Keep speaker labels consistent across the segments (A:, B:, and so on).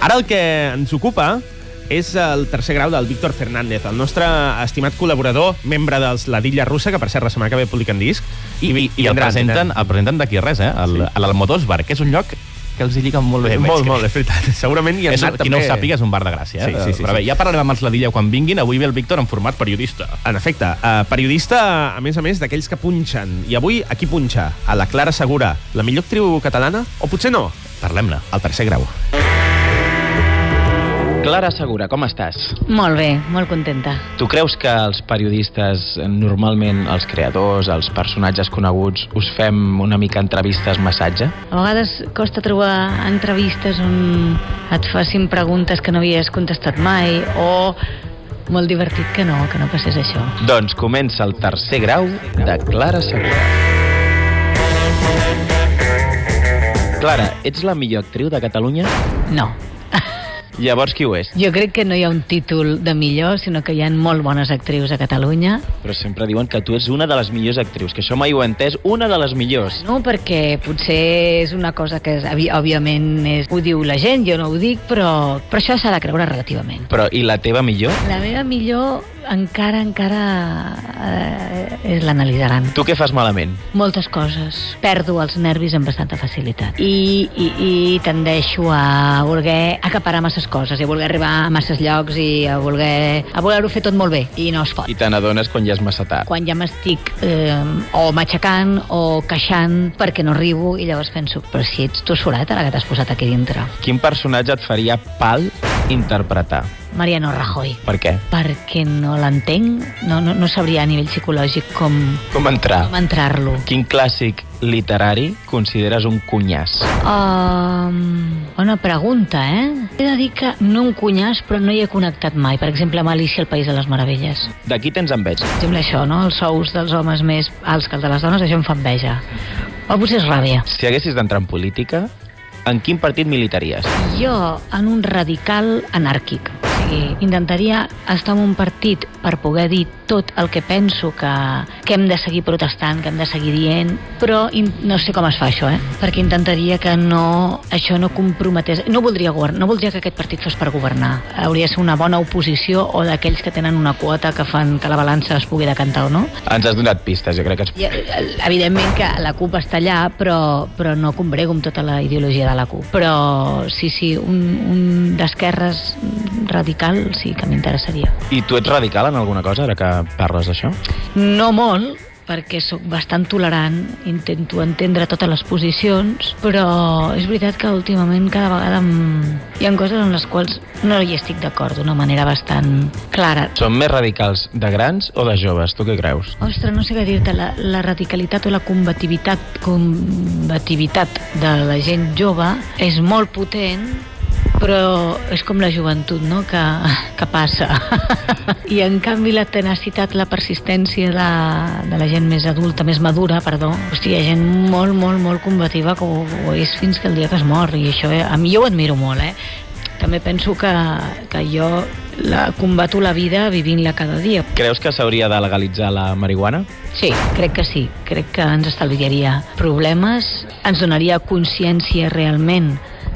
A: Ara el que ens ocupa és el tercer grau del Víctor Fernández, el nostre estimat col·laborador, membre dels La Dilla Russa, que per cert la setmana que ve publiquen disc.
B: I, i, i el
A: vindran,
B: presenten,
A: vindran.
B: el presenten d'aquí res, eh? El, sí. A l'Almodós Bar, que és un lloc que els hi lliga molt bé.
A: molt,
B: veig que-
A: molt, és veritat. Segurament hi ha
B: És,
A: anat
B: qui
A: també...
B: no ho sàpiga és un bar de gràcia. Eh?
A: Sí, sí, sí,
B: Però bé,
A: sí.
B: ja parlarem amb els Ladilla quan vinguin. Avui ve el Víctor en format periodista.
A: En efecte, eh, periodista, a més a més, d'aquells que punxen. I avui, a qui punxa? A la Clara Segura, la millor actriu catalana? O potser no?
B: Parlem-ne.
A: Al tercer grau.
C: Clara Segura, com estàs?
D: Molt bé, molt contenta.
C: Tu creus que els periodistes, normalment els creadors, els personatges coneguts, us fem una mica entrevistes massatge?
D: A vegades costa trobar entrevistes on et facin preguntes que no havies contestat mai o molt divertit que no, que no passés això.
C: Doncs comença el tercer grau de Clara Segura. Clara, ets la millor actriu de Catalunya?
D: No.
C: Llavors qui ho és?
D: Jo crec que no hi ha un títol de millor, sinó que hi ha molt bones actrius a Catalunya.
C: Però sempre diuen que tu ets una de les millors actrius, que això mai ho he entès, una de les millors.
D: No, perquè potser és una cosa que, és, òbvi- òbviament, és, ho diu la gent, jo no ho dic, però, però això s'ha de creure relativament.
C: Però i la teva millor?
D: La meva millor encara, encara eh, és l'analitzaran.
C: Tu què fas malament?
D: Moltes coses. Perdo els nervis amb bastanta facilitat. I, i, i tendeixo a voler acaparar masses coses, i a voler arribar a masses llocs, i a voler a voler-ho fer tot molt bé, i no es pot.
C: I te n'adones quan ja és massa tard.
D: Quan ja m'estic eh, o matxacant o queixant perquè no arribo, i llavors penso, però si ets tu sorat, ara que t'has posat aquí dintre.
C: Quin personatge et faria pal interpretar?
D: Mariano Rajoy
C: Per què?
D: perquè no l'entenc, no, no, no sabria a nivell psicològic com,
C: Com entrar?
D: com entrar-lo.
C: Quin clàssic literari consideres un cunyàs?
D: Um, bona pregunta, eh? He de dir que no em cunyàs, però no hi he connectat mai. Per exemple, amb Alicia, el País de les Meravelles.
C: D'aquí tens enveja.
D: Per exemple, això, no? Els sous dels homes més alts que els de les dones, això em fa enveja. O potser és ràbia.
C: Si haguessis d'entrar en política, en quin partit militaries?
D: Jo, en un radical anàrquic. O sigui, intentaria estar en un partit per poder dir tot el que penso que, que hem de seguir protestant, que hem de seguir dient, però in, no sé com es fa això, eh? Perquè intentaria que no, això no comprometés... No voldria governar, no voldria que aquest partit fos per governar. Hauria de ser una bona oposició o d'aquells que tenen una quota que fan que la balança es pugui decantar o no.
C: Ens has donat pistes, jo crec que...
D: I, eh, evidentment que la CUP està allà, però, però no combrego amb tota la ideologia de la CUP. Però sí, sí, un, un d'esquerres radical sí que m'interessaria.
C: És... I tu ets radical en alguna cosa, ara que parles d'això?
D: No molt, perquè sóc bastant tolerant, intento entendre totes les posicions, però és veritat que últimament cada vegada em... hi ha coses en les quals no hi estic d'acord d'una manera bastant clara.
C: Són més radicals de grans o de joves? Tu què creus?
D: Ostres, no sé què dir-te, la, la radicalitat o la combativitat, combativitat de la gent jove és molt potent, però és com la joventut, no?, que, que passa. I, en canvi, la tenacitat, la persistència de, de la gent més adulta, més madura, perdó, hòstia, hi ha gent molt, molt, molt combativa que ho, ho és fins que el dia que es mor, i això, eh, a mi jo ho admiro molt, eh? També penso que, que jo la combato la vida vivint-la cada dia,
C: Creus que s'hauria de legalitzar la marihuana?
D: Sí, crec que sí. Crec que ens estalviaria problemes, ens donaria consciència realment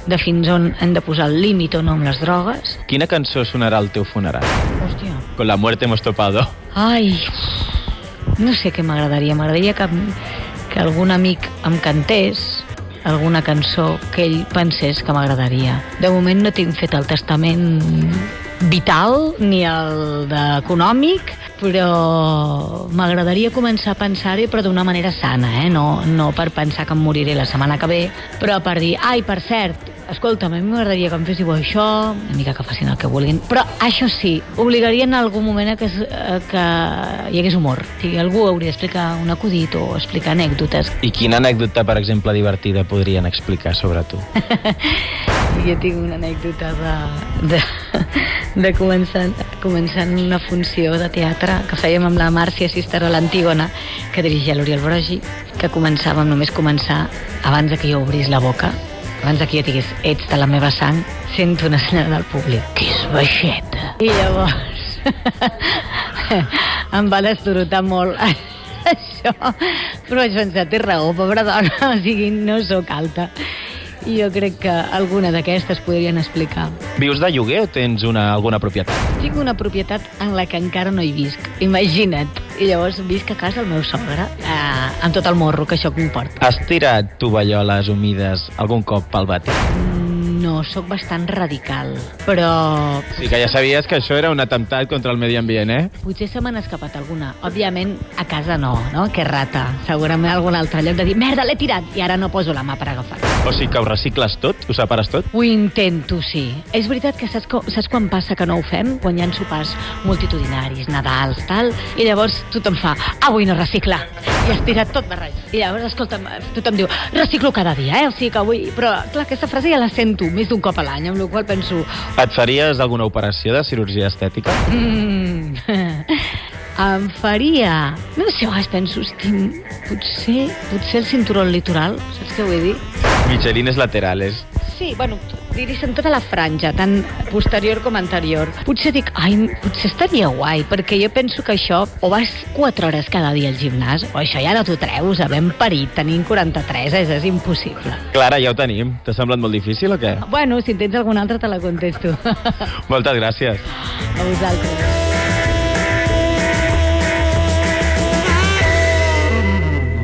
D: de fins on hem de posar el límit o no amb les drogues.
C: Quina cançó sonarà al teu funeral?
D: Hòstia.
C: Con la muerte hemos topado.
D: Ai, no sé què m'agradaria. M'agradaria que, que algun amic em cantés alguna cançó que ell pensés que m'agradaria. De moment no tinc fet el testament vital ni el d'econòmic, però m'agradaria començar a pensar-hi però d'una manera sana, eh? no, no per pensar que em moriré la setmana que ve, però per dir, ai, per cert, Escolta'm, a mi m'agradaria que em féssiu això, una mica que facin el que vulguin, però això sí, obligaria en algun moment a que, es- a que hi hagués humor. O sigui, algú hauria d'explicar un acudit o explicar anècdotes.
C: I quina anècdota, per exemple, divertida podrien explicar sobre tu?
D: Jo tinc una anècdota de, de, de començant, començant una funció de teatre que fèiem amb la Màrcia Cisteró, l'Antígona, que dirigia l'Oriol Brogi, que començàvem només començar abans de que jo obrís la boca, abans de que jo digués ets de la meva sang, sento una senyal del públic que és baixeta. I llavors em van estorotar molt això, però vaig pensar, té raó, pobra dona, o sigui, no sóc alta. I jo crec que alguna d'aquestes podrien explicar.
C: Vius de lloguer o tens una, alguna propietat?
D: Tinc una propietat en la que encara no hi visc, imagina't. I llavors visc a casa el meu sogre, eh, amb tot el morro que això comporta.
C: Has tirat tovalloles humides algun cop pel vàter?
D: Mm, No, sóc bastant radical, però
C: Sí que ja sabies que això era un atemptat contra el medi ambient, eh?
D: potser se m'han escapat alguna. Òbviament, a casa no, no? Que rata. Segurament a algun altre lloc de dir, merda, l'he tirat, i ara no poso la mà per agafar.
C: O sigui que ho recicles tot? Ho separes tot?
D: Ho intento, sí. És veritat que saps, co- saps quan passa que no ho fem? Quan hi ha sopars multitudinaris, Nadals, tal, i llavors tothom fa, avui no reciclar, i has tirat tot barrejat. I llavors, escolta'm, eh, tothom diu, reciclo cada dia, eh? O sigui que avui... Però, clar, aquesta frase ja la sento més d'un cop a l'any, amb la qual cosa penso,
C: Et faries alguna operació de cirurgia estètica?
D: Mm. em faria... No sé, a vegades penso, hosti, potser, potser el cinturón litoral, saps què vull dir?
C: Michelines laterales.
D: Sí, bueno, diries en tota la franja, tant posterior com anterior. Potser dic, ai, potser estaria guai, perquè jo penso que això, o vas 4 hores cada dia al gimnàs, o això ja no t'ho treus, havent parit, tenint 43, és, és impossible.
C: Clara, ja ho tenim. T'ha semblat molt difícil o què?
D: Bueno, si en tens alguna altra te la contesto. a
C: Moltes gràcies.
D: vosaltres.